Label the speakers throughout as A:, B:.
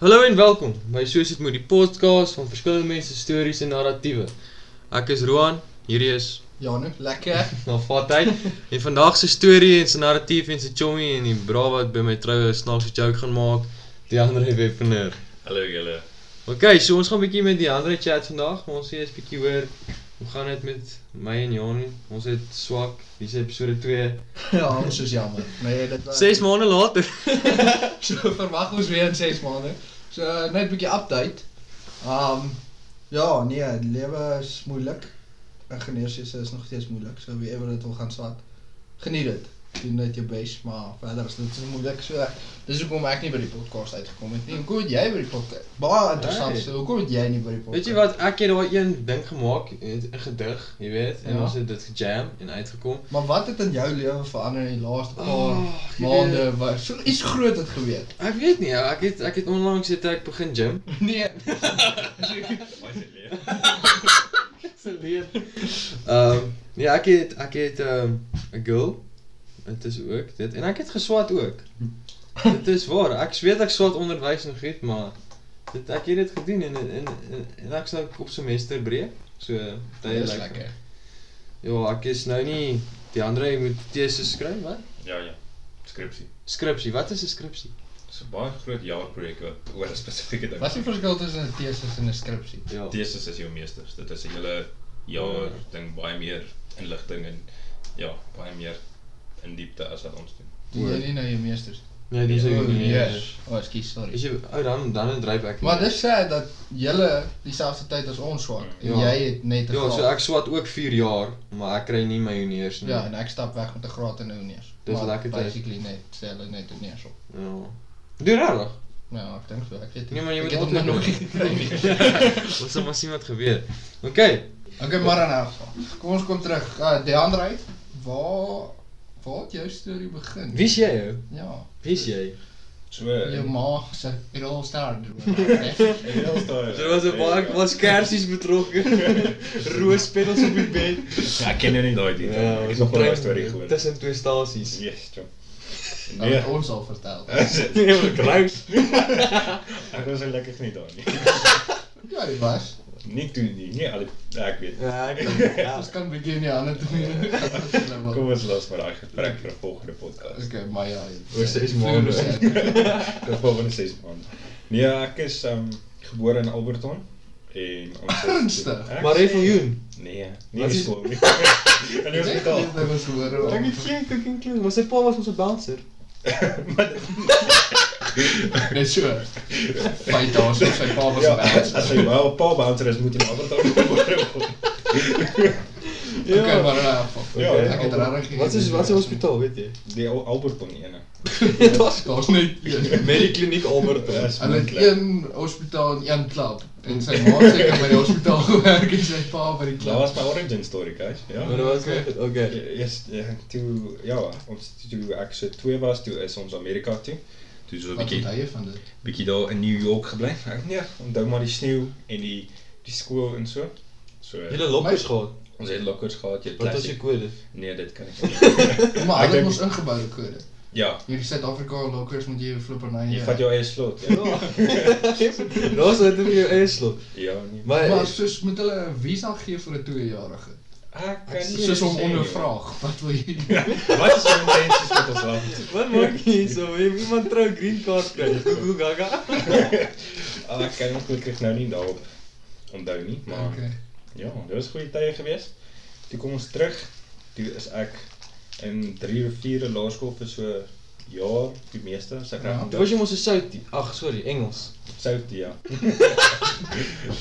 A: Hallo en welkom by Soos dit moet die podcast van verskillende mense se stories en narratiewe. Ek is Roan, hierdie is
B: Janu, lekker.
A: Nafatheid en vandag se storie en sy narratief en sy chommy en die bra wat by my troue 'n snaakse joke gaan maak, die ander wepener.
C: Hallo julle.
A: OK, so ons gaan 'n bietjie met die ander chat vandag. Ons sien eens bietjie hoor hoe gaan dit met my en Janie? Ons het swak, dis episode 2.
B: ja, ons is jammer. Nee, dit was
A: 6 maande later.
B: So verwag ons weer in 6 maande. So net 'n bietjie update. Um ja, nee, die lewe is moeilik. Ingenieurswese is nog steeds moeilik. So wie ever dit wil gaan swat, geniet dit. Doen net jou bes, maar verder is dit so moeilik. So dis hoekom ek nie by die podcast uitgekom het nie. Hoekom het jy by die podcast? Baie interessant.
A: Hey.
B: Hey. So hoekom het jy nie by die podcast?
A: Weet jy wat, ek het daai een ding gemaak, 'n gedig, jy weet, en
B: Ja.
A: ons het dit gejam en uitgekom.
B: Maar wat het in jou lewe verander in die laaste paar oh, maande? Wat so iets groot het gebeur?
A: Ek weet nie, ek het ek het onlangs het ek begin gym.
B: Nee.
C: Wat is dit leer?
A: Se leer. Ehm ja, ek het ek het ehm 'n girl. Dit is ook dit en ek het geswat ook. Dit is waar. Ek weet ek swat onderwys en goed, maar dit ek het dit gedoen en en en, en ek's nou op semester breek. So dit
B: Dis lekker.
A: Ja, ek is nou nie die ander jy moet teses skryf, wat?
C: Ja ja. Skripsie.
A: Skripsie. Wat is 'n skripsie?
C: Dis 'n baie groot jaarprojek wat oor 'n spesifieke ding.
B: Wat is die verskil tussen 'n teses en 'n skripsie?
A: Ja.
C: Thesis is jou meesters. Dit is 'n hele jaar ding baie meer inligting en ja, baie meer in diepte as wat ons doen.
B: Doen jy nie nou jou meesters?
A: Nee, dis
B: O,
A: ook nie.
B: yes. O, oh, skus,
A: Is
B: sorry.
A: jy ou dan dan dryf ek.
B: Maar dis sê dat julle dieselfde tyd as ons swak en
A: Ja.
B: jy het net 'n
A: Ja,
B: graad.
A: so ek swat ook 4 jaar, maar ek kry nie my honeurs nie.
B: Ja, en ek stap weg met 'n graad en 'n honeurs.
A: Dis
B: Maar
A: lekker tyd.
B: Basically net sê hulle net honeurs op.
A: Ja. Doen rarig.
B: Ja, ek dink so. Ek weet nie.
A: Nee, maar jy
B: ek
A: moet
B: het hom nou
A: oplet.
B: nog nie gekry nie.
A: Ons sal maar sien wat gebeur. OK.
B: Okay, maar dan af. Kom ons kom terug. Uh, Deandre, waar waar het jou storie begin?
A: Wie's jy ou?
B: Ja,
A: Wie's jy?
C: So
B: jou ma se it all started. with-
A: Daar was 'n
C: Ja,
A: baie was kersies betrokke. Roospetels op die bed.
C: Ja, ek ken nou nie daai detail. nie. ek het nog nooit 'n storie gehoor. nie.
A: Tussen twee stasies.
C: Yes, chom.
B: Dat
C: Nee.
B: het ons al vertel.
A: Eh. Nee, maar kruis.
C: Ek was gelukkig nie daar nie.
B: Ja, dit was.
C: Nie toe nie. Nee, al die- ek weet.
A: Ja, ek ja.
B: Ons kan begin die ander doen.
C: Kom ons los maar daai gesprek vir 'n volgende podcast.
B: Okay, maar ja.
A: Oor ses maande.
C: Ja. Dis volgende 6 maande. Nee, ek is um gebore in Alberton en ons is
B: Ernstig?
C: Ek
A: Maar
C: sê-
A: Reveljoen.
C: Nee, nie
A: Wat
C: in
A: is-
C: skool nie. En jy
B: Ek
C: het
B: dink
C: al.
B: dit was hoor.
A: Dink dit geen cooking clean, maar sy pa was ons 'n bouncer.
B: Net so. Vyf dae so sy pa was
C: Ja,
B: baie.
C: as jy wel 'n paar bouncer is moet jy in Alberton gebore word.
B: Okay, maar ja. fuck.
C: Ja,
B: ek het regtig.
A: Wat is wat is hospitaal, weet jy?
C: Die Al- Alberton ene.
A: Daar's
B: Daar's net een.
A: Medikliniek Alberton.
C: Dis
B: Hulle het
C: moontlik.
B: een hospitaal en een klub en sy ma het seker by die hospitaal gewerk en sy pa by die
C: Daar
B: klub.
C: Ja, was my origin story, guys. Ja.
A: Maar wat okay.
C: Eers ja, toe ja, ons toe ek so 2 was, toe is ons Amerika toe. Toe so 'n
B: Wat
C: bietjie
B: het jy van dit?
C: bietjie daar in New York gebly. Ek nee, onthou maar die sneeu en die die skool en so. So
A: Julle lokkers gehad.
C: ons het lokkers gehad, jy
A: Wat was jou
C: klassiek.
A: kode?
C: Nee, dit kan ek nie.
B: Maar hulle
C: Ek
B: het
C: dink-
B: ons ingeboude kode.
C: Ja,
B: Hier in Suid-Afrika lokers moet jy jou flipper na
C: jy vat jou eie slot. Ja.
A: Los uit in jou eeslop.
C: Ja, nee.
A: Maar
B: Maar soos moet hulle 'n visa gee vir 'n 2-jarige.
C: Ek
A: Ek
C: kan nie
B: Soos om
C: sê,
B: ondervraag, wat wil jy?
C: joh. Wat is jou intensies met ons land?
A: wat maak jy so? Jy iemand trou green card kry. Google gaga.
C: Ah, ek kan ook gelukkig nou nie daarop onthou nie, maar okay.
B: Okay.
C: ja, dit was goeie tye gewees. Toe kom ons terug. Toe is ek in 3 of 4 laerskool vir so 'n jaar, die meeste, as ek
B: Ja.
A: Toe
C: reg
A: was
C: onthou.
A: jy mos 'n soutie. Ag, sorry, Engels.
C: Sout ja.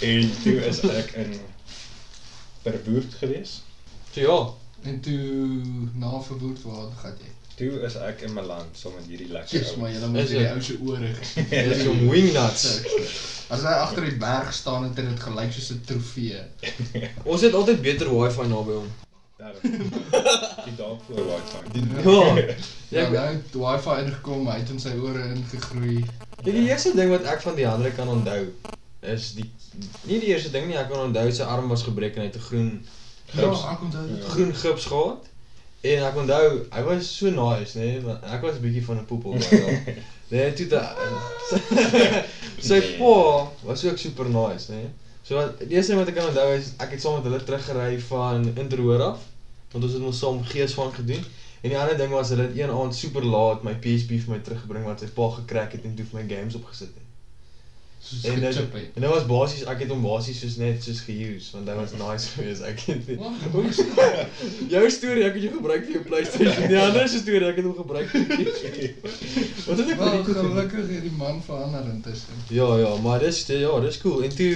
C: en toe is ek in Perwoerd gewees.
A: So ja,
B: En toe na verwoord waar gaan jy?
C: Toe is ek in Milan saam met hierdie lekker
B: Jesus, maar jy moet
A: Is
B: hierdie
A: dit?
B: ou se ore.
A: dis jou wingnuts.
B: As hy agter die berg staan het dit gelyk soos 'n trofee.
A: Ons het altyd beter wifi naby hom.
C: Daarom. Die dag voor Wi-Fi.
A: Ja.
B: Ja,
A: Ek
B: nou het Wi-Fi ingekom, hy het in sy ore ingegroei.
A: Kijk, die eerste ding wat ek van die ander kan onthou is die nie die eerste ding nie, ek kan onthou sy arm was gebreek en hy het 'n groen
B: Ja,
A: Gips.
B: ek onthou dit.
A: groen gips gehad. En ek onthou, hy was so nice, nê, nee, want ek was 'n bietjie van 'n poepel daai dag. Nee, toe da Sy
C: Nee.
A: pa was ook super nice, né? So wat die eerste ding wat ek kan onthou is ek het saam met hulle teruggery van Interhoor af, want ons het ons saam gees van gedoen. En die ander ding was hulle het een aand super laat my PSP vir my teruggebring wat sy pa gekrek het en toe vir my games opgesit het.
D: Soos
A: En dit,
D: gechip het.
A: en dit was basies ek het hom basies soos net soos geuse want dit was nice geweest. Ek het
D: Wat?
A: jou storie ek het jou gebruik vir jou PlayStation. Ja, Die ander se storie ek het hom gebruik vir die PlayStation. Wat het ek vir
B: Wel,
A: die gedoen?
B: gelukkig het die man verander intussen.
A: Ja ja, maar dis ja, dis cool. En toe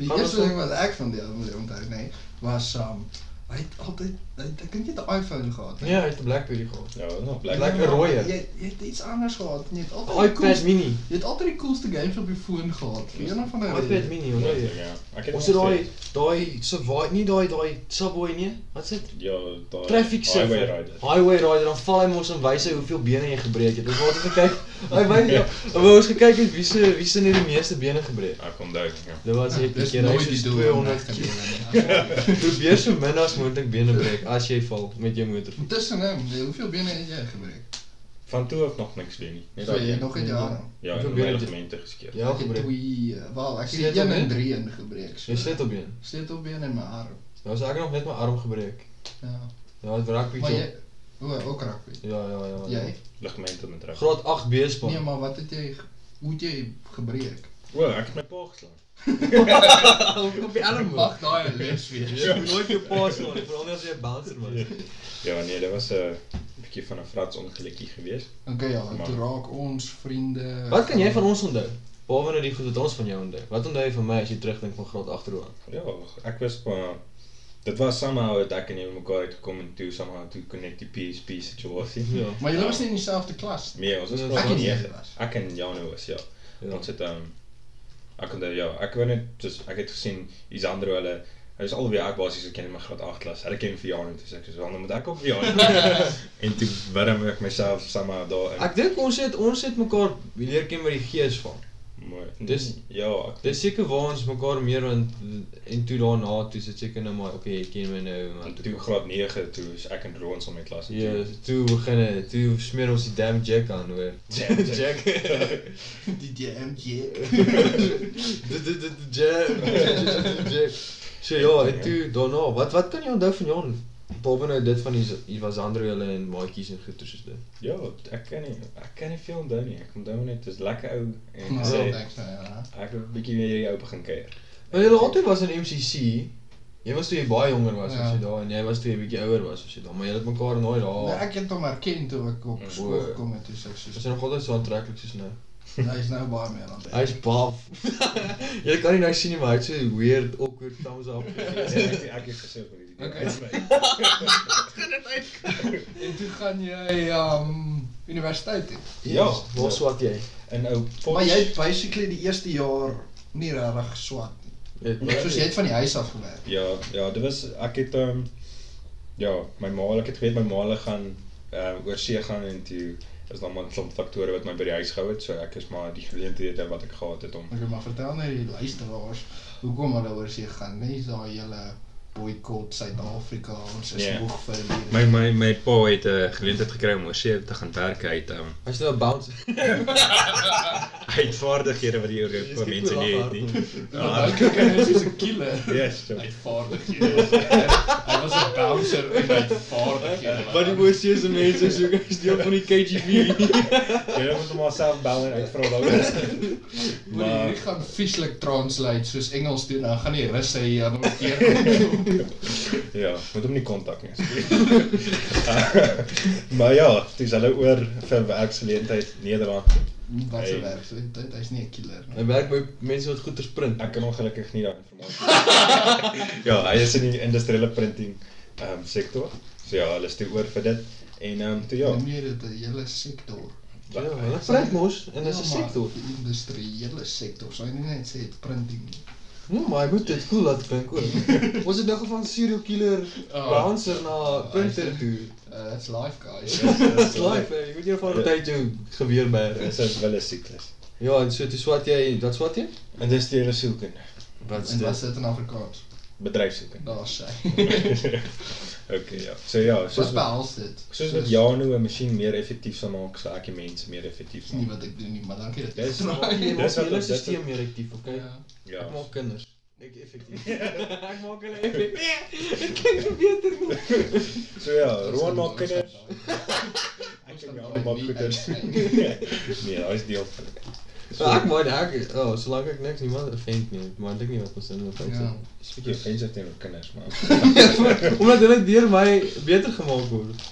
B: Die
A: Gaan
B: eerste
A: ons-
B: ding wat ek van die album onthou, nee, was um hy het altyd hy het, ek dink jy het 'n iPhone gehad.
A: ja, hy het 'n BlackBerry gehad.
C: Ja, nog
A: Lekker
C: lekker.
A: rooi.
B: Jy,
A: rooie.
B: jy het iets anders gehad en jy het
C: Oh,
B: altyd die
A: iPad
B: coolste,
A: mini.
B: jy het altyd die coolste games op jou foon gehad. Een of ander
A: iPad mini, hoor jy?
C: Ja. Ek het
A: Ons het
C: nog
A: daai
C: steeds-
A: daai survive nie daai daai Subway nie. Wat is dit?
C: ja, daai
A: Traffic
C: Highway
A: Surfer.
C: Rider.
A: Highway Rider dan val hy mos en wys hy hoeveel bene jy gebreek het. Ons het altyd gekyk. Hy wys ja, maar ons gekyk het wie se wie se net die meeste bene gebreek.
C: Ek kom daai. Ja.
A: Dit was
B: Dis
A: net 'n keer hy
B: nooit die
A: soos
B: doel.
A: 200
B: in
A: keer.
B: regte lewe nie.
A: Probeer so min as moontlik bene breek as jy val met jou motor.
B: Intussen hem, nee, hoeveel bene het jy gebruik?
C: Van toe af nog niks doen nie. Net
B: So
C: daai
B: jy
C: een.
B: het nog 'n jaar.
C: Ja,
A: Hoeveel
C: in
A: bene
C: my
A: het jy-
C: ligamente geskeer.
A: Ja,
B: Ek het
A: gebreek.
B: twee, eh, wel, ek het
A: Sleutelbeen?
B: 1 en 3 in gebreek.
A: Jy sit op been.
B: Sleutelbeen en my arm.
A: Nou is ek nog net my arm gebreek.
B: Ja.
A: Ja, dit raak
B: Maar
A: bietjie.
B: jy o, ook rugby.
A: Ja, ja, Oh, ja. ja.
B: Jy?
C: Ligamente met reg.
A: Graad 8 B-span.
B: Nee, maar wat het jy ge- hoe het jy gebreek?
C: O, ek het my pa geslaan.
A: op die arm.
B: Mag daai 'n les wees.
A: Jy moet nooit jou pas slaan, nie, veral nie as jy 'n bouncer was.
C: Ja, nee, dit was 'n bietjie van 'n frats ongelukkie geweest.
B: Okay ja,
C: Maar-
B: toe raak ons vriende.
A: Wat kan jy van ons onthou? Behalwe nou die goed wat ons van jou onthou. Wat onthou jy van my as jy terugdink van graad 8 toe aan?
C: Ja, ek was maar dit was somehow het ek en jy mekaar uitgekom en toe somehow toe connect die PSP situasie.
A: Ja.
B: Maar julle was nie in dieselfde klas.
C: Nee, ons was
A: Ek
C: graad
B: en jy
C: 9.
B: was.
C: Ek en Jano was ja.
A: Ja.
C: Ons het ehm ek kon dit ja, ek wou net dus ek het gesien Isandro hulle hy eh, is alweer ek basies geken in my graad 8 klas. Hulle ken vir jare en toe sê dus ek so, "Dan moet ek ook vir jare." en toe warm ek myself somehow daarin.
A: Ek dink ons het ons het mekaar leer ken met die gees van.
C: Mooi.
A: Dis-
C: ja, ek
A: Dis seker waar ons mekaar meer want en toe daarna toe sit seker nou maar okay, jy ken my nou maar
C: en toe graad 9 toe is ek en Roons om my klas en
A: Ja,
C: toe-
A: toe begin het- toe smeer ons die damn jack aan hoor.
C: Jack, Jack.
B: Die DMJ.
A: Dit dit dit jam. Jam. So ja, en toe daarna, wat wat kan jy onthou van Jan? Behalwe nou dit van die hier was ander hulle en maatjies en goeie soos dit.
C: Ja, ek kan nie ek kan nie veel onthou nie. Ek onthou net dis lekker ou en
B: Nou,
C: sê
B: thanks nou ja.
C: ek het 'n bietjie weer hierdie ou begin kuier.
A: Maar jy altyd was in MCC. Jy was toe jy baie jonger was as
B: Ja.
A: jy daar en jy was toe jy bietjie ouer was as jy daar, maar jy het mekaar nooit
B: Nee,
A: daar.
B: ek het hom herken toe ek op skool
A: O.
B: gekom het, dis ek
A: Ons
B: soos
A: is nog altyd so aantreklik soos nou.
B: hy's nou baie meer aan.
A: Hy's baf. jy kan nie nou sien nie, maar hy het so weird awkward thumbs up.
C: ek ek het gesê vir hierdie.
B: Okay. En toe gaan jy um universiteit toe.
A: Ja,
C: Ja.
A: waar swat jy?
C: En eh, ou Potch-
B: Maar jy het basically die eerste jaar nie regtig geswat nie.
A: Nee,
B: Soos jy het van die huis af gewerk.
C: Ja, ja, dit was ek het ehm um, ja, my ma, ek het geweet my ma hulle gaan ehm uh, oor see gaan en toe is daar maar 'n klomp faktore wat my by die huis gehou het, so ek is maar die geleenthede wat ek gehad het om
B: Ek wil maar vertel net die luisteraars hoekom hulle oor see gaan, nie daai hele boikot Suid-Afrika, ons is
C: Nee.
B: moeg vir
C: My
B: hierdie.
C: my my pa het 'n uh, geleentheid gekry om oor see te gaan werk uit um,
A: Hy's nou 'n bouncer.
C: uit vaardighede wat die Europa mense nie het nie.
B: Maar nou kyk hy net soos 'n killer.
C: Yes, so.
B: Uitvaardighede. Hy was 'n bouncer en uitvaardighede.
A: Wat die boerseese mense soek is deel van die KGB.
C: Jy moet hom alself bel en uitvra daaroor.
B: Moet jy
C: Maar-
B: hier gaan vieslik translate soos Engels doen, dan gaan die Russe hier aan hom keer.
C: Ja, moet hom nie kontak nie. maar ja, dis hulle oor vir werksgeleentheid Nederland.
B: Wat
C: Hey.
B: se werk, so hy- hy's nie 'n killer nie.
A: Hy werk by mense wat goeder print.
C: Ek kan ongelukkig nie daai inligting. ja, hy is in die industriële printing ehm um, sektor. So ja, hulle is toe oor vir dit en ehm um, toe ja.
B: Noem jy dit 'n hele sektor?
A: Ja, hulle print mos en dit is 'n
B: Ja, maar
A: sektor.
B: Die industriële sektor, sou jy nie net sê printing nie.
A: Nee, maar ek moet dit cool laat dink ook. Ons het nou gegaan serial killer
B: Ah.
A: bouncer na printer toe.
B: Uh, that's life guys.
A: Dis life, eh, jy moet jou van die tyd jou geweer bære.
C: Dis 'n wille siklus.
A: Ja, en so toe swat jy, wat swat jy?
C: Industriële sielkunde.
A: Wat
B: en wat sit in Afrikaans?
C: bedrijfszieken.
B: Oh, sy.
C: Oké, ja. So ja, soos
D: Soos
C: met,
D: behels dit.
C: soos ja- met Jano 'n masjien meer effektief sal maak, sal ek die mense meer effektief
D: Dis nie
C: maak.
D: wat ek doen nie, maar dankie dat
C: Dis-
D: jy
A: Jy
D: vra.
A: maak
C: Dis wat-
A: hele
C: dis wat-
A: systeem meer effektief, oké?
D: Ja.
C: Ja.
A: Ek maak kinders. Ek effektief. ek maak hulle Nee,
C: So ja, Roan maak kinders. Ek
D: Ons
C: en
D: gaan
C: Jano
D: nooit
C: maak
D: nie
C: goeders.
D: uitskei.
C: Nee, daai is deel van dit.
A: Maar ek maak ek oh, solank ek niks niemand offend nie, maar ek dink nie wat ons in offend
B: Ja.
A: is.
C: Dis 'n bietjie offensive teenoor kinders, maar
A: Omdat hulle deur my beter gemaak word.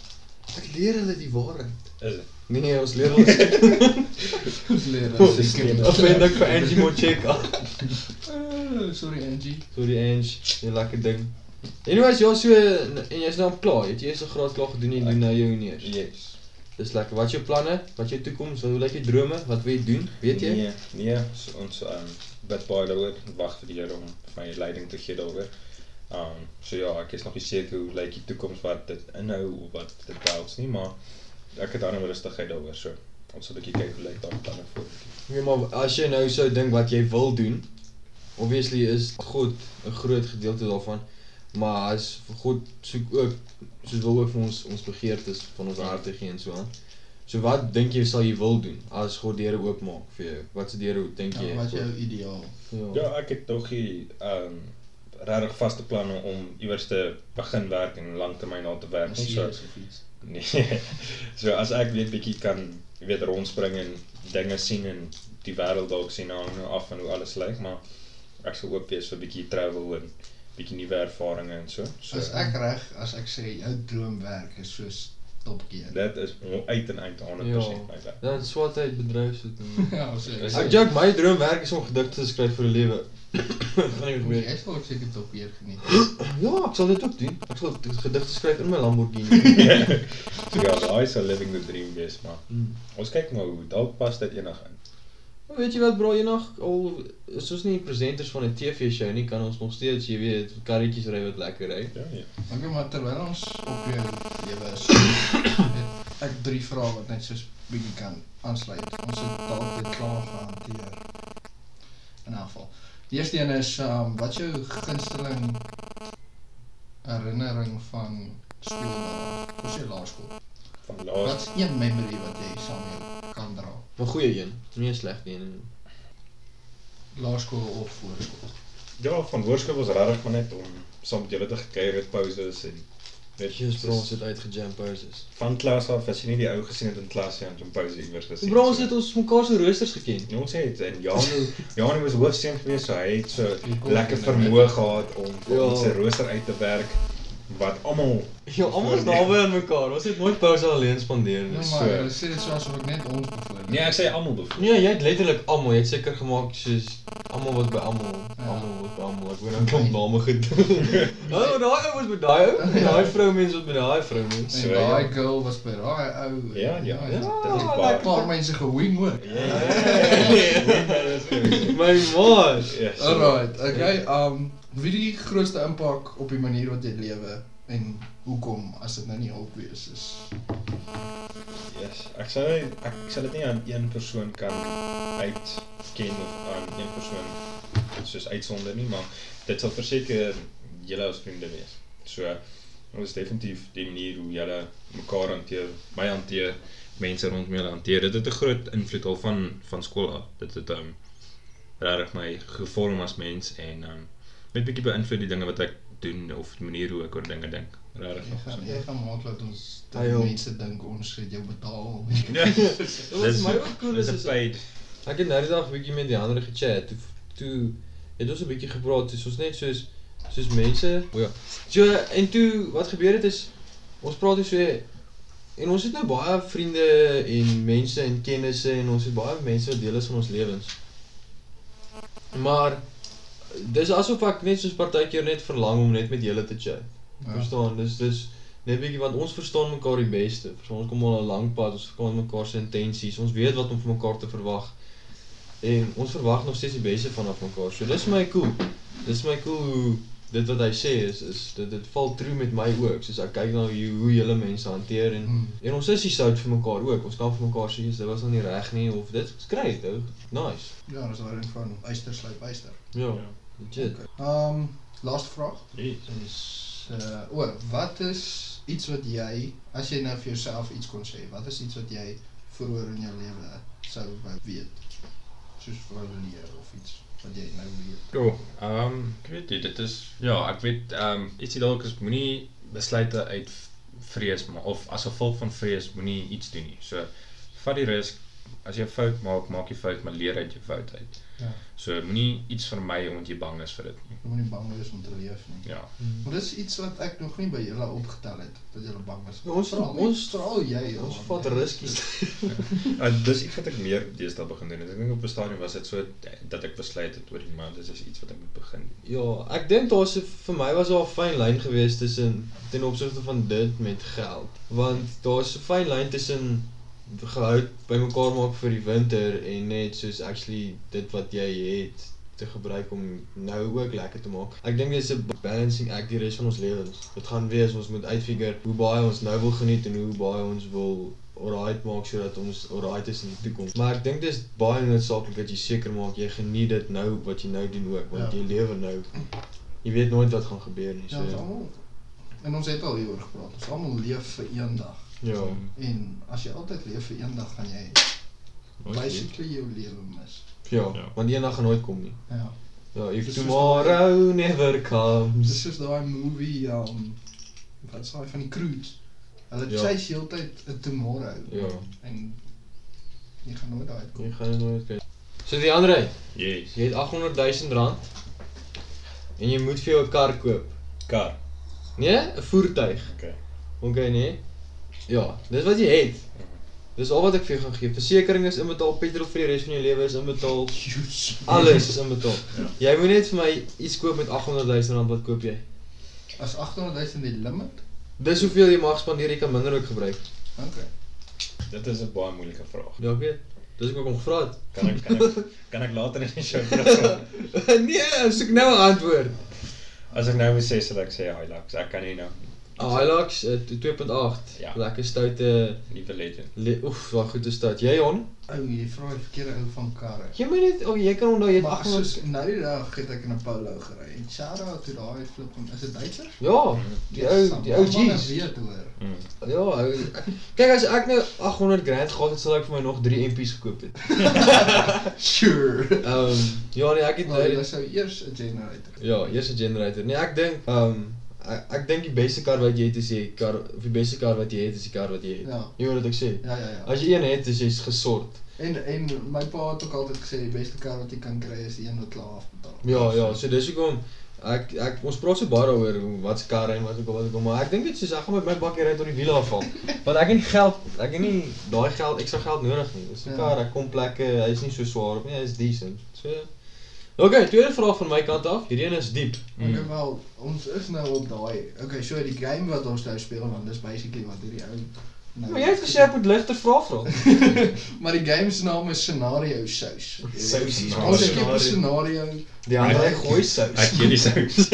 A: Ek leer hulle die waarheid.
C: is dit?
A: Nee, ons leer hulle
B: Ons leer
C: Ons is kinders.
A: offend ek vir
D: Eh,
A: Angie Mocheka.
B: Oh, sorry Angie.
A: Sorry Angie, jy lekker ding. Anyways, jy so en jy's nou klaar. Jy het jy eerste graad klaar gedoen en jy doen nou jou honeurs.
C: Yes.
A: Dis lekker. Wat is jou planne? Wat is jou toekoms? Wat hoe lyk jou drome? Wat wil jy doen? Weet jy?
C: Nee, nee so ons um bid baie daaroor. Ek Wag vir die Here om my leiding te gee daaroor. Um so ja, ek is nog nie seker hoe lyk die toekoms wat dit inhou of wat dit behels nie, maar ek het daarmee rustigheid daaroor. So ons sal 'n bietjie kyk hoe lyk daai planne vorentoe.
A: Nee, maar as jy nou sou dink wat jy wil doen, obviously is God 'n groot gedeelte daarvan, maar as God soek ook soos wil ook vir ons ons begeertes van ons harte gee en so aan. So wat dink jy sal jy wil doen as God deure oopmaak vir jou? Wat se deure dink jy?
D: Ja, wat is jou ideaal?
A: Ja.
C: Ja, ek het nog nie um regtig vaste planne om iewers te begin werk en langtermyn daar te werk
D: As
C: nie.
D: jy
C: So
D: is of iets.
C: Nee. So as ek weet bietjie kan jy weet rondspring en dinge sien en die wêreld dalk sien hang nou af van hoe alles lyk, maar ek sal oop wees vir bietjie travel en bietjie nuwe ervarings en so. So
D: As ek reg, as ek sê jou droomwerk is soos topkeer.
C: dit is on- uit en uit 100% my werk.
A: Dan swat hy bedryfsvoeding.
B: Ja, ons leer.
A: Ek joke, my droomwerk is om gedigte te skryf vir 'n lewe. Gaan nie gebeur. nie.
D: Jy sal ook seker topkeer geniet.
A: Ja, ek sal dit ook doen. Ek sal gedigte skryf in my Lamborghini.
C: So ja, daai sal living the dream wees, maar
A: Hmm.
C: ons kyk maar hoe dalk pas dit enig in.
A: Maar Weet jy wat bro, eendag al is ons nie presenters van 'n TV-show nie, kan ons nog steeds, jy weet, karretjies ry wat lekker ry.
C: Ja, ja.
B: Okay, maar terwyl ons op jou lewe is, het ek drie vrae wat net soos bietjie kan aansluit. Ons het dalk dit klaar gehanteer. In elk geval. Die eerste een is um, wat is jou gunsteling herinnering van skool af? Ons se laerskool.
C: Van
B: Wat
C: laas
B: is een memory wat jy saam met jou kan dra?
A: 'n Goeie een, nie 'n slegte een nie.
B: Laerskool of voorskool?
C: ja, van hoërskool was regtig maar net om saam met julle te gekuier het pauses en weet
A: Jesus bro,
C: soos-
A: ons het uitgejump houses.
C: van klas af as jy nie die ou gesien het in klas nie, dan het jy pouse iewers gesien.
A: Bro, ons het ons mekaar se roosters geken.
C: Ja, ons het en Janu, Janu was hoofseun gewees, so hy het so
D: kon
C: lekker
D: nie
C: vermoë gehad om vir
A: Ja.
C: ons se rooster uit te werk wat almal
A: Ja, almal is naby aan mekaar. Ons het nooit pouse alleen spandeer
B: Ja,
A: nie.
C: Dis
B: maar
C: so.
B: hulle sê dit soos of ek net ons bevoordeel.
C: Nee, ek sê almal bevoel.
A: Nee, jy het letterlik almal, jy het seker gemaak soos almal wat by almal,
B: Ja.
A: almal wat by almal. Ek wou nou klomp name gedoen. Oh, daai ou was by daai ou, en daai vroumens was by daai vroumens.
B: En
C: So,
B: daai
C: ja.
B: girl was by daai ou.
C: Ja, ja.
A: Ja,
C: Dit is
B: Een
C: baie.
B: paar mense gewing ook.
C: Ja.
A: My man.
C: Ja. so-
B: Alright, okay. Um wie die grootste impak op die manier wat jy lewe en hoekom as dit nou nie hulp wees is.
C: Yes. Ek sê ek sal dit nie aan een persoon kan uitken of aan een persoon soos uitsonder nie, maar dit sal verseker julle as vriende wees. So ons definitief die manier hoe julle mekaar hanteer, my hanteer, mense rondom julle hanteer. Dit het 'n groot invloed al van van skool af. Dit het um regtig my gevorm as mens en um net bietjie beïnvloed die dinge wat ek doen of die manier hoe ek oor dinge dink. Regtig.
B: Jy gaan jy gaan maak dat ons dat
A: Ai, joh.
B: mense dink ons het jou betaal.
A: Wat my ook cool Ja. is
C: Dis 'n
A: is
C: paid
A: ek het nou die dag 'n bietjie met die ander gechat. Toe toe het ons 'n bietjie gepraat, soos ons net soos soos mense. O ja. So en toe wat gebeur het is ons praat dus weer en ons het nou baie vriende en mense en kennisse en ons het baie mense wat deel is van ons lewens. Maar dis asof ek net soos partykeer net verlang om net met julle te chat. Ja.
B: Ja.
A: Verstaan, dis dis net bietjie want ons verstaan mekaar die beste. Verstaan, ons kom al 'n lang pad, ons verstaan mekaar se intensies, ons weet wat om van mekaar te verwag. En ons verwag nog steeds die beste vanaf mekaar. So dis my cool. Dis my cool hoe dit wat hy sê is is dit dit val true met my ook. Soos ek kyk na hoe hoe julle mense hanteer en
B: Hmm.
A: en ons is die sout vir mekaar ook. Ons kan vir mekaar sê "Jesus, dit was nou nie reg nie of dit skryf, ou. Nice.
B: Ja, dis waarin van uister sluit uister.
A: Ja.
C: Ja.
A: Legit.
E: Ehm laaste vraag.
C: Jeez.
B: Um, Is, eh o, wat is iets wat jy, as jy nou vir jouself iets kon sê, wat is iets wat jy vroeër in jou lewe sou wou weet? Soos formuleer of iets wat jy nou weet.
C: Go. Ehm ek weet nie, dit is ja, ek weet ehm ietsie dalk is moenie besluite uit vrees maar of as gevolg van vrees moenie iets doen nie. So vat die risiko. As jy 'n fout maak, maak jy fout, maar leer uit jou fout uit.
B: Ja.
C: So moenie iets vermy omdat jy bang is vir dit nie.
B: Jy moenie bang wees om te leef nie.
C: Ja.
A: Hmm.
B: Maar dis iets wat ek nog nie by julle opgetel het dat julle bang is.
A: Ja, ons-
B: straal,
A: ons-
B: straal jy
A: Ons
B: man.
A: vat riskies.
C: En dis iets wat ek meer deesdae begin doen. het. Ek dink op 'n stadium was dit so dat ek besluit het oor die maand dit is iets wat ek moet begin doen.
A: Ja, ek dink daar's 'n- vir my was daar 'n fyn lyn gewees tussen ten opsigte van dit met geld, want daar's 'n fyn lyn tussen gehout bymekaar maak vir die winter en net soos actually dit wat jy het te gebruik om nou ook lekker te maak. Ek dink dis 'n balancing act die res van ons lewens. Dit gaan wees ons moet uitfigure hoe baie ons nou wil geniet en hoe baie ons wil alright maak sodat ons alright is in die toekoms. Maar ek dink dis baie noodsaaklik dat jy seker maak jy geniet dit nou wat jy nou doen ook want
B: Ja.
A: jy lewe nou. Jy weet nooit wat gaan gebeur nie.
B: Ja, ons
A: So
B: almal. En ons het al hieroor gepraat. Ons almal leef vir een dag.
A: ja.
B: En as jy altyd leef vir een dag, gaan jy basically jou lewe mis.
A: Ja,
C: Ja.
A: want eendag gaan nooit kom nie.
B: Ja.
A: Ja, if
B: Dis soos
A: tomorrow never comes.
B: Dis soos daai movie um wat is daai van die cruise. Hulle
A: Ja.
B: ja. chase heeltyd 'n tomorrow
A: Ja,
B: en jy gaan nooit daai kom.
A: jy Nee, gaan nooit kry. So die ander
C: Yes.
A: Jy het 800 000 rand en jy moet vir jou 'n kar koop.
C: Kar.
A: Nee, 'n voertuig.
C: Okay.
A: OK, nee. Ja, dis wat jy het. Dis al wat ek vir jou gaan gee. Versekering is inbetaal, petrol vir die res van jou lewe is inbetaal,
B: Juice.
A: alles is inbetaal. Jy moet net vir my iets koop met 800 000 rand, wat koop jy?
B: As 800 000 die limit.
A: Dis hoeveel jy mag spandeer, jy kan minder ook gebruik.
B: Okay.
C: Dit is 'n baie moeilike vraag.
A: Ja, ek weet. Dis ook om gevra het.
C: Kan ek kan ek kan ek later in die show terugkom?
A: nee, soek nou 'n antwoord.
C: As ek nou moet sê sal ek sê Hilux. Ek kan nie nou
A: Ah, Hilux eh, 2.8.
C: Ja.
A: Lekker stoute
C: nuwe legend.
A: le- oef, wat goed is dit. Jy, Jon?
B: Ou, jy vra die verkeerde ou van karre.
A: Jy moet net, oh, jy kan onthou jy het
B: Maar
A: 800
B: soos nou die dag het ek in 'n Polo gery. En shout out to daai flipping. Is dit Duitser?
A: Ja, die ou die ou
B: Jeez.
A: G's.
B: Weet hoor.
A: Ja, ou. Kyk as ek nou 800 grand gehad het, sal ek vir my nog 3 MP's gekoop het.
B: Sure.
A: Ehm ja, nee, ek het
B: Maar hulle
A: nou
B: sou eers 'n generator.
A: ja, eers 'n generator. Nee, ek dink ehm ek, ek dink die beste kar wat jy het is die kar of die beste kar wat jy het is die kar wat jy het.
B: Ja.
A: Jy hoor wat ek sê.
B: Ja ja ja.
A: As jy een het, is jy's gesort.
B: En en my pa het ook altyd gesê die beste kar wat jy kan kry is die een wat klaar afbetaal.
A: Ja, ja, so dis hoekom ek ek ons praat so baie daaroor hoe- wat se karre en wat ook al wat ook al, maar ek dink dit soos ek gaan met my bakkie ry tot die wiele afval. Want ek het nie geld, ek het nie daai geld, ekstra geld nodig nie. Dis 'n
B: Ja.
A: kar, ek kom plekke, hy's nie so swaar op nie, hy's decent. So Okay, tweede vraag van my kant af. Hierdie een is diep.
B: Mm. Okay, wel, ons is nou op daai. Okay, so die game wat ons nou speel want dis basically wat hierdie ou nou
A: Maar jy het gesê ek moet ligter vrae vra.
B: maar die game se naam is scenario sous.
A: Sousies,
C: maar
B: Ons skep 'n scenario.
A: Die ander hy gooi sous.
C: Ek gee die sous.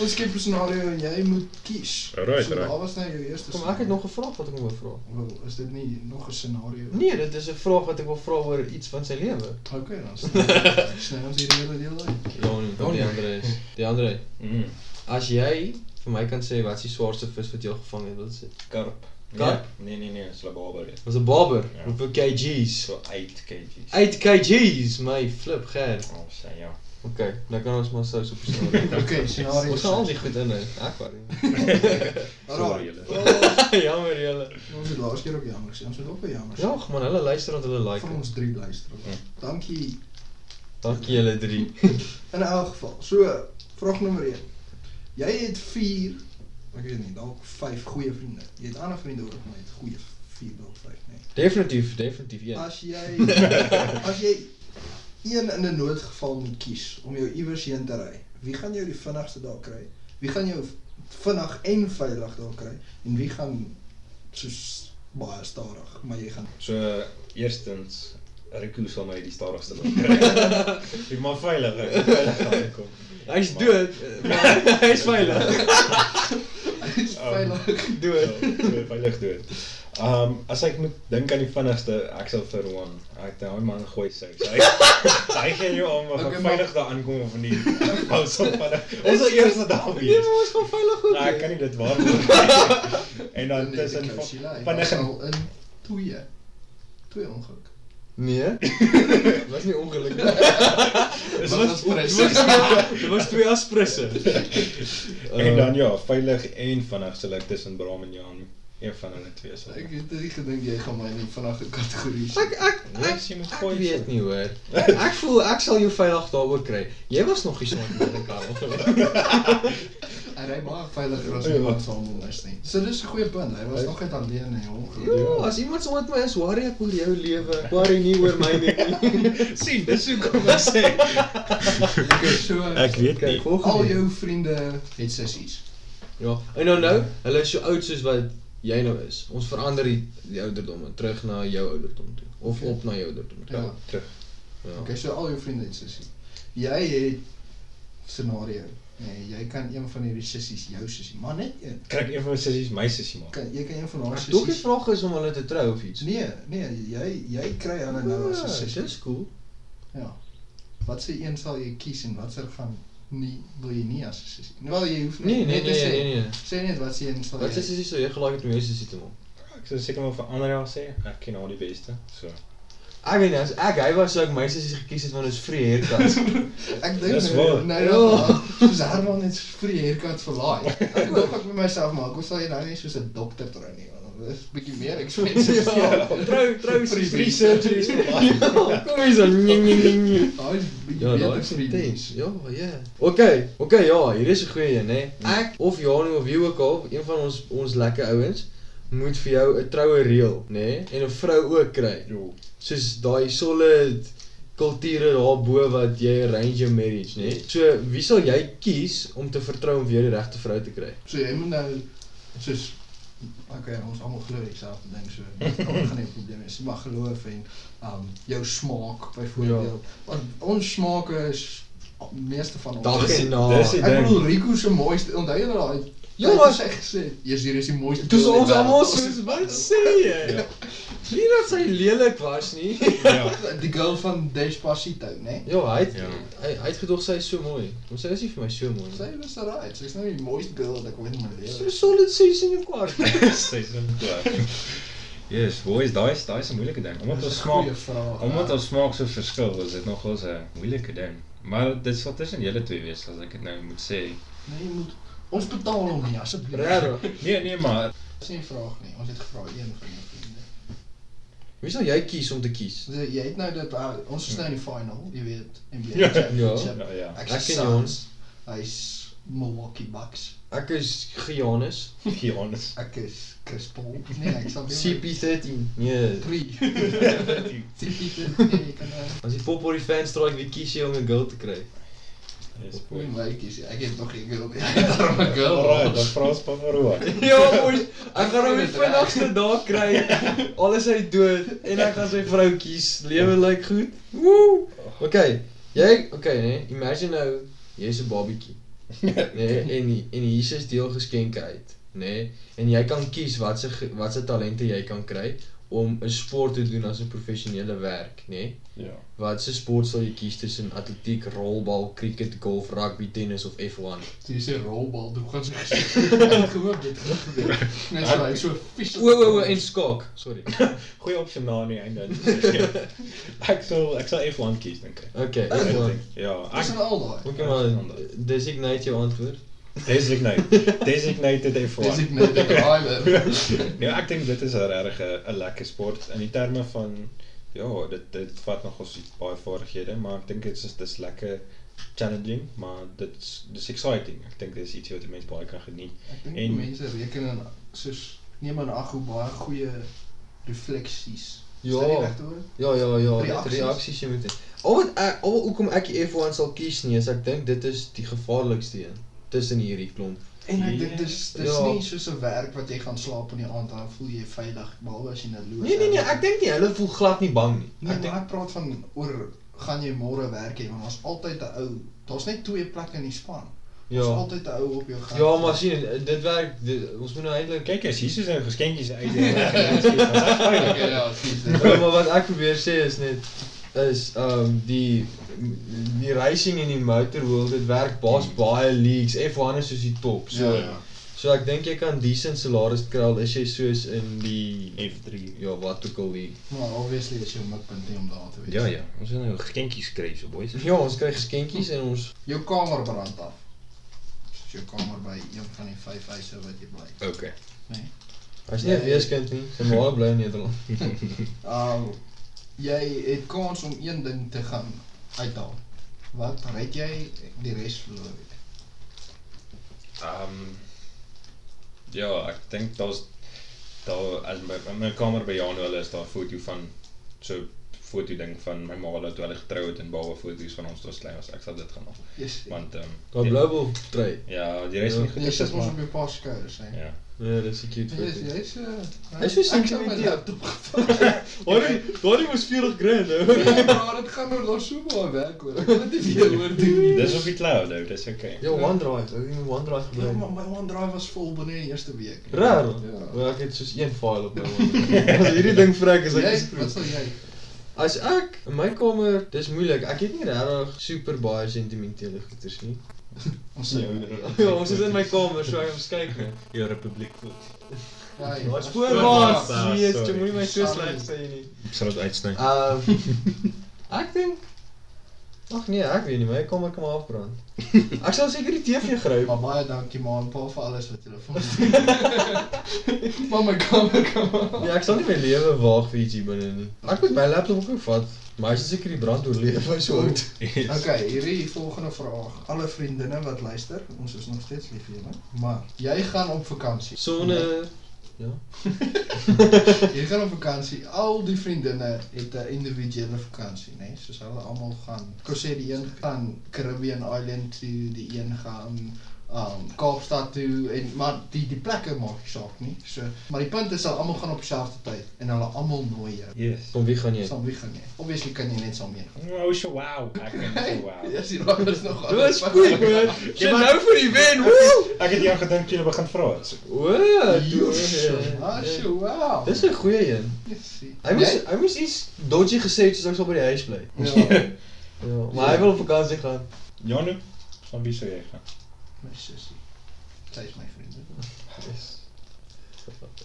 B: Ons skep 'n scenario en jy moet kies.
C: Alright,
B: so,
C: alright.
B: Daar was nou jou eerste.
A: Kom, ek het nog 'n vraag wat ek wil vra.
B: Wel, is dit nie nog 'n scenario?
A: Nee, dit is 'n vraag wat ek wil vra oor iets van sy lewe.
B: Okay, dan sny- sny ons hierdie hele deel uit.
A: Ja, nee, die ander is. Die ander is.
C: Mm.
A: As jy vir my kan sê wat is die swaarste vis wat jy al gevang het, wat is dit?
C: Karp.
A: Karp?
C: Nee nee nee, is lababer.
A: Was 'n barber.
C: Ja.
A: Hoeveel kgs?
C: So 8 kg.
A: 8 kgs, my flip gerd.
C: Oh, sy ja.
A: Okay, nou kan ons maar sous op die sous.
B: Okay, scenario.
A: Ons gaan al
B: sous.
A: die goed in hou. Ek wou nie.
C: Sorry julle.
A: Jammer julle.
B: Ons het laas keer ook jammer gesê. Ons het ook weer jammer gesê.
A: Ja, man, hulle luister en hulle like.
B: van
A: het.
B: ons drie luisteraars. Dankie
A: Dankie julle drie.
B: In elk geval, so vraag nommer 1. Jy het 4, ek weet nie, dalk 5 goeie vriende. Jy het ander vriende ook, maar jy het goeie 4 dalk 5, nee.
A: Definitief, definitief een.
B: As jy as jy een in 'n noodgeval moet kies om jou iewers heen te ry, wie gaan jou die vinnigste daar kry? Wie gaan jou vinnig en veilig daar kry? En wie gaan soos baie stadig, maar jy gaan
C: So eerstens Riku sal my die stadigste laat kry. Ek maar veilig, ek veilig gaan kom.
A: Hy's dood, maar hy's veilig.
B: veilig.
A: Dood.
B: nee,
C: So, so Ja, veilig dood. Ehm as ek moet dink aan die vinnigste, ek sal vir Juan. Ek dink hy man gooi seks. Hy hy gee jou om
F: Okay,
C: of okay,
F: maar-
C: veilig daar aankom of nie. Ons sal vinnig. Ons sal eers daar
A: Nee,
C: wees.
A: maar ons gaan veilig goed.
C: Nou, ek kan nie dit waarborg nie. En dan
B: Nee,
C: tussen
B: ek wou sê, hy
C: vinnig
B: was
C: en
B: al in twee. Twee ongeluk.
A: Nee.
F: was nie ongeluk.
C: is
F: Maar was
C: ons
F: pres.
A: Dit was twee aspresse.
B: Eh,
C: en dan ja, veilig en vinnig sal ek tussen Bram en Johan een van hulle twee sal.
B: Ek het nie gedink jy gaan my in vanaf 'n kategorie. sit.
A: Ek ek
C: Nee,
A: ek
C: as jy moet
A: Ek
C: gooi.
A: weet nie hoor. Ek voel ek sal jou veilig daaroor kry. Jy was nog nie saam met Karel.
B: Hy ry maar veiliger as
C: Ja.
B: iemand saam met ons nie. So dis 'n goeie punt. Hy was
C: Hy-
B: nog net alleen in die ongeluk.
A: Ja, as iemand saam met my is, worry ek oor jou lewe. Ek worry nie oor my nie.
C: sien, dis hoekom ek sê.
B: Okay, so
C: Ja. Ek weet
A: Kyk,
C: nie.
B: al
A: volgende.
B: jou vriende het sissies.
A: Ja, en nou nou, hulle is so oud soos wat jy nou is. Ons verander die, die ouderdom en terug na jou ouderdom toe of op na jou ouderdom toe.
B: Ja.
C: Terug.
A: Ja.
B: Okay, so al jou vriende het sissies. Jy het scenario. Nee, jy kan een van hierdie sissies jou sussie, maar net een.
C: Kan ek een van my sissies my sussie maak?
B: Kan jy kan een van haar
A: Maar tog die
B: sissies.
A: vraag is om hulle te trou of iets. Ja,
B: Nee, nee, jy jy kry hulle nou as 'n sussie.
A: Dis cool.
B: Ja. Wat se een sal jy kies en wat sal gaan nie wil jy nie as 'n sussie. Nou wel jy hoef
A: Nee, nee,
B: net te
A: nee,
B: sê-
A: nee, nee.
B: Sê net wat se een sal
A: Wat
B: jy.
A: is dit so jy gelyk het om jou sussie te maak?
C: Ek sou seker maar vir ander jaar sê, ek ken al die beste. So.
A: Ek weet nie, as ek hy was sou ek my sussie gekies het want dit is free haircuts.
B: Ek dink
C: Dis
B: nou-
C: waar.
B: nou
A: Ja.
B: ja, soos Herman net vir die haircut verlaai. Ek dink ek met myself maak, hoe sal jy nou nie soos 'n dokter trou nie, want dit is 'n bietie meer expensive.
A: Ja, trou trou
B: Free
A: free
B: surgeries.
A: surgeries. Ja, Kom hier so. Nying, nying, nying, nying.
B: Daai is 'n bietjie
A: Ja,
B: beter
A: daar is
B: vir die
A: intens. Ja, ja. Okay, okay, ja, hier is 'n goeie een, nê. Ek of Janu of wie ook al, een van ons ons lekker ouens moet vir jou 'n troue reël, nê? En 'n vrou ook kry.
C: Jo.
A: Soos daai solid kulture daarbo wat jy arrange your marriage, nê? So, wie sal jy kies om te vertrou om weer die regte vrou te kry?
B: So jy moet nou soos okay, ons almal glo dieselfde ding so. Ons gaan nie probleme hê. Jy mag geloof en um jou smaak byvoorbeeld. Want ons smake is meeste van ons.
A: Dag en
C: dis
A: nag.
C: die-
B: Ek bedoel Rico se mooiste, onthou jy nou daai
A: Ja, maar-
B: sy gesê, "Jy's hier is die mooiste."
A: Dis
B: beeld in
A: ons
B: die
A: almal
B: wêreld."
A: soos wat sê jy? Nie dat sy lelik was nie.
C: Ja.
B: die girl van Despacito, né?
A: Ja, hy het,
C: Ja.
A: hy, hy het gedoog sy is so mooi. Maar sy is nie vir my so mooi nie.
B: Sy was alright. Sy's nou die mooiste girl wat ek ooit in my lewe.
A: So solid 6 en 'n kwart.
C: Seisoen 2. Yes, hoe is daai? is- Daai is 'n moeilike ding. Omdat ons smaak,
B: goeie vraag.
C: omdat
B: ja.
C: ons smaak so verskil, is dit nogals 'n moeilike ding. Maar dit sal tussen julle twee wees as ek dit nou moet sê.
B: nee, jy moet ons betaal hom nie asseblief.
A: Regtig.
C: Nee, nee, maar
B: Dis nie 'n vraag nie. Ons het gevra een van jou vriende.
A: Wie sal jy kies om te kies?
B: So, jy het nou dat uh, ons is nou in die final, jy weet, NBA
C: Ja.
B: Championship.
C: nou ja, ja.
B: Ek
A: Ek
B: sien
A: ken
B: ons. Hy's Milwaukee Bucks.
A: Ek is Giannis.
C: Be honest.
B: Ek is Chris Paul. Nee, ek sal
A: CP13. Nee.
B: 3. CP3. Nee, kan nou.
A: As jy pop oor die fans draai, wie kies jy om 'n girl te kry?
C: Yes,
B: Hoe
C: boy.
B: my kies. Ek het nog geen girl nie. Ek het daarom 'n girl.
C: Alright, dan vra ons papa Roa.
A: Ja, boys. Ek gaan hom die vinnigste dag kry. Alles uit dood en ek gaan sy vrou kies. Lewe lyk goed. Woe. Okay. Jy, okay, nee. Imagine nou jy's 'n babatjie. nee, en en Jesus deel geskenke uit, nê? Nee? En jy kan kies watse ge- watse talente jy kan kry om 'n sport te doen as 'n professionele werk, nê? Nee?
C: Ja.
A: Watse sport sal jy kies tussen atletiek, rolbal, cricket, golf, rugby, tennis of F1?
B: Toe jy sê rolbal, toe gaan sy gesê. Ek hoop dit gaan gebeur. Net so hy so vies.
A: O, o, o, en skaak, sorry.
C: Goeie opsie na aan die einde. Ek sal ek sal F1 kies dink ek.
A: Okay,
C: Ek
A: F1.
C: dink, Ja, ek
B: Dis al daai.
A: Okay, maar designate jou antwoord.
C: designate designated F1.
B: Dis ek net 'n driver.
C: Nee, ek dink dit is 'n regtig 'n lekker sport in die terme van ja, dit dit vat nog ons baie vaardighede, maar ek dink dit is dis lekker challenging, maar dit is dis exciting. Ek dink dis iets wat mense baie kan geniet.
B: Ek dink die
C: En-
B: mense reken en soos neem aan ag hoe baie goeie refleksies. Is dit die
A: Ja.
B: regte woord?
A: Ja ja ja,
B: Reaksies.
A: reaksies, reaksies jy moet hê. Al Oh, wat ek al hoekom ek die F1 sal kies nie, is ek dink dit is die gevaarlikste een tussen hierdie klomp.
B: En ek dink dis dis
A: Ja.
B: nie soos 'n werk wat jy gaan slaap in die aand, dan voel jy veilig behalwe as jy nou loop.
A: Nee nee nee, ek dink nie hulle voel glad nie bang nie.
B: Nee,
A: Ek
B: maar ek praat van oor gaan jy môre werk hê want ons altyd 'n ou. Daar's net twee plekke in die span.
D: Dat is
A: Ja.
D: altijd de oude op jou gaan.
A: Ja, maar zie je, dit werkt. dit- ons moet nou eindelijk.
C: Kijk eens, hier zijn geskenkjes uit. Ja,
G: Oké, ja, precies.
A: Ja, maar wat ik probeer te zeggen is net. Is ehm die. Die racing in die motorworld, dit werk pas baie leagues. F1 is soos die top. So,
G: Ja, ja.
A: so ek dink jy kan decent salaris kry al is jy soos in die
C: F3.
A: ja, wat ook al die.
B: Maar obviously is jou mikpunt nie om daar te wees.
C: Ja, ja. Ons zijn nou geskenkjes gekregen, zo, boys.
A: Ja, ons kry geskenkies en ons
B: Jou kamer brand af. Soos jou kamer by een van die vijf huise wat jy bly.
C: Oké.
A: as
B: Ja,
A: nie 'n weeskind nie, sy ma bly in Nederland.
B: Um, jy het kans om een ding te gaan uithaal. Wat red jy die res verloor? het?
C: Ehm ja, ek dink daar's daar as my in my kamer by Jano hulle is daar 'n foto van so foto ding van my ma hulle toe hulle getrou het en baba foto's van ons toe ons klein was. Ek sal dit gaan maak.
B: Yes.
C: Want ehm
A: Daar
C: die-
A: blou wil try.
C: Ja, die res van die
B: Jy
C: goedjies
B: sit
C: is
B: mos
C: maar
B: op jou pa se skouers, hè.
C: ja.
A: Ja, dis 'n cute
B: Jy's
A: foto.
B: jy's uh,
A: Hy's so
B: ek sal my
A: sentimenteel.
B: laptop
A: Daardie daardie was 40 grand nou.
B: Nee, maar dit gaan nou los so baie werk hoor. Ek wil dit nie weer hoor doen nie.
C: Dis op die cloud nou, dis okay.
A: Ja, OneDrive, ek het 'n OneDrive
B: Ja,
A: gebruik.
B: maar my OneDrive was vol binne die eerste week.
A: Raar.
B: Ja.
A: Ja, ek het soos een file op my OneDrive. As hierdie ding vrek is ek
B: Jy,
A: gescrew.
B: wat sal jy?
A: As ek in my kamer, dis moeilik. Ek het nie regtig super baie sentimentele goeders nie.
B: Ons sê.
A: Ja, ons is in my kamer, so ek moet kyk net.
C: jou Ja, republiek voet.
A: Wat
C: voorwaarts,
A: voorwaarts,
C: jeet,
A: weet
C: jy
A: jy,
C: moenie
A: moenie my
B: so
A: so
B: sleg
A: sleg sê nie.
C: Ek sal dit uitsny.
A: Ehm ek dink Ag nee, ek weet nie, my kamer kan maar afbrand. Ek sal seker die TV gryp.
B: Maar baie dankie ma en pa vir alles wat julle vir ons doen. Maar my kamer kom.
A: Nee, ek sal nie my lewe waag vir iets hier binne nie. Ek moet my laptop ook vat, maar hy sal seker die brand oorleef, hy's so oud.
B: Okay, hierdie volgende vraag. Alle vriendinne wat luister, ons is nog steeds lief vir julle, maar jy gaan op vakansie.
A: Sonder
B: Jy gaan op vakansie. Al die vriendinne het 'n individuele vakansie, né? Nee? Soos hulle almal gaan. Ek sou sê die een gaan Caribbean Island toe, die een gaan um Kaapstad toe en maar die die plekke maak nie saak nie. So, maar die punt is hulle almal gaan op dieselfde tyd en hulle almal nooi jou.
C: Yes.
A: kom wie gaan jy?
B: Saam wie gaan jy? Obviously kan jy net saam heen
C: Oh, so wow. Ek kan so
B: gaan.
C: wow.
B: Ja, sien wat is nog
A: Dis goed, man. Shit, nou vir die wen. Woe!
C: Ek het jou gedink jy begin vra. het.
A: Woe,
B: Ah,
A: doe.
B: sure, wow.
A: Ja. Dis 'n goeie een. Hy moes hy moes iets dodgy gesê het soos ek sal by die huis bly.
B: Ja.
A: Ja, maar hy wil op vakansie gaan.
C: Jano, van wie sou jy gaan?
B: My sussie. Sy is my vriendin.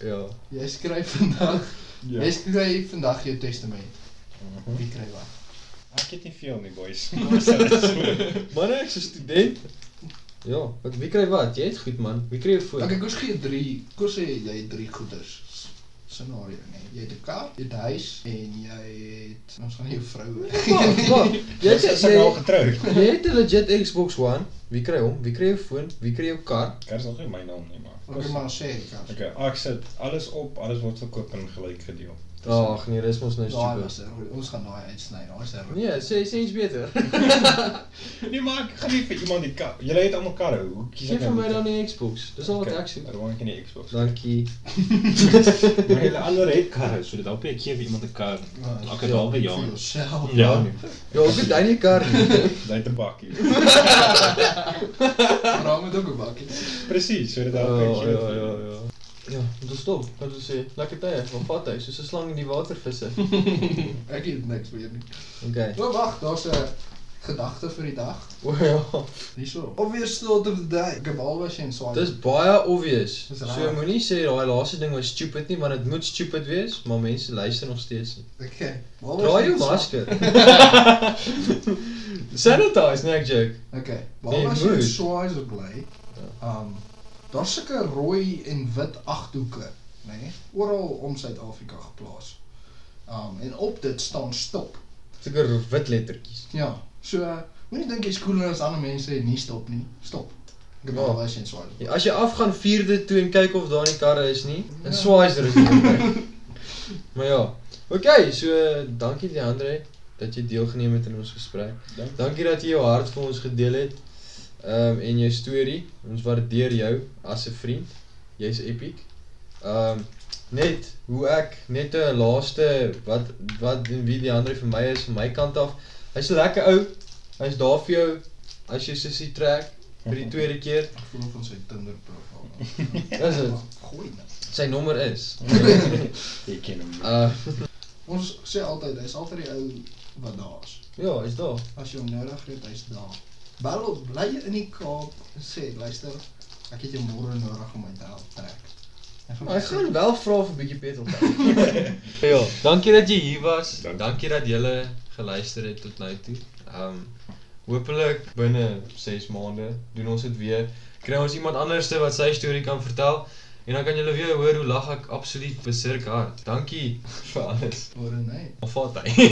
A: Ja.
B: Jy skryf vandag. Ja. Jy skryf vandag jou testament.
A: Hm?
C: Mhm.
B: Wie kry wat?
C: Ek het nie veel nie, boys.
A: Man, ek's 'n student. Ja, wat wie kry wat? Jy het goed man. Wie kry jou voor?
B: Okay, koers gee 3. Koers sê jy het 3 goeders s- scenario, nee. Jy het 'n kar, jy het 'n huis en jy het ons gaan jou vrou.
A: Wag, wag. Jy
C: Jy's
A: het
C: seker al
A: jy,
C: getroud.
A: jy het 'n legit Xbox One. Wie kry hom? Wie kry jou foon? Wie kry jou kar?
C: Daar is nog nie my naam nie, maar.
B: Okay, maar sê die kar.
C: Okay, ah, ek sit alles op, alles word verkoop en Dus- gelyk gedeel.
A: Ag nee, dis mos nou
B: Daai
A: stupid.
B: was er, ons gaan daai uitsny. Daai is er.
A: Nee, sê sê iets beter.
C: Nee, maar ek gaan nie vir iemand die kar. Julle het almal karre. Hoe kies
A: Gee
C: ek
A: vir my dan 'n Xbox. Dis al wat ek soek.
C: Daar woon ek in die Xbox.
A: Dankie.
C: Maar julle ander het karre, so dit help nie ek gee vir iemand 'n kar. Ek het al by
B: Vir
C: Jan.
B: jouself.
C: Ja, nee.
A: Ja, ook het hy nie kar nie.
C: Daai te bakkie.
B: Vra moet ook 'n bakkie.
C: Presies, so dit
A: Ja,
C: help ek
A: ja, ja,
C: gee.
A: ja. Ja, dis stop. Wat jy sê, eh, lekker tye, van vat hy soos 'n slang in die water visse.
B: Ek het niks meer nie.
A: Okay.
B: O, wag, daar's 'n gedagte vir die dag.
A: O ja.
B: Hierso. Obvious thought of the day. Gebal was en so.
A: Dis baie obvious.
B: Dis raar.
A: So moenie sê daai laaste ding was stupid nie, want dit moet stupid wees, maar mense luister nog steeds nie.
B: Okay. Wat
A: Dra jou masker. Sanitize, nee ek joke.
B: Okay.
A: Nee, Ja.
B: Waar was jy
A: moet.
B: swaaiers bly? Um daar's sulke rooi en wit agthoeke, nê, nee, oral om Suid-Afrika geplaas. Um en op dit staan stop.
A: Seker wit lettertjies.
B: Ja. So uh, moenie dink jy's cooler as ander mense en nie stop nie. Stop. Gebal
A: Ja.
B: was en swaaiers.
A: Ja, As jy afgaan vierde toe en kyk of daar nie karre is nie, dan
B: Ja.
A: swaai jy rus nie. maar ja. Okay, so dankie Leandre dat jy deelgeneem het aan ons gesprek.
C: Dank-
A: Dankie dat jy jou hart vir ons gedeel het. Ehm en jou storie. Ons waardeer jou as 'n vriend. Jy's epic. Ehm net hoe ek net 'n laaste wat wat en wie die ander vir my is van my kant af. Hy's 'n lekker ou. Hy's daar vir jou as jy sussie trek. Vir die tweede keer.
B: Ek voel van sy Tinder profiel.
A: Is dit?
B: Gooi nou.
A: Sy nommer is.
C: Je kent hem.
A: Uh
B: Ons sê altyd, hy's altyd die ou wat daar is.
A: ja, is daar.
B: As jy hom nodig het, hy's daar. Bel op, bly in die Kaap en sê, luister, ek het jou môre nodig om my te help trek. En vir
A: Maar ek gaan wel vra vir 'n bietjie petrol. ja, dankie dat jy hier was.
C: Dankie.
A: Dankie, dat jy geluister het tot nou toe. Um hopelik binne 6 maande doen ons dit weer. Kry ons iemand anderste wat sy storie kan vertel en dan kan julle weer hoor hoe lag ek absoluut besirk hard. Dankie vir alles.
B: môre nee.
A: Of vat hy?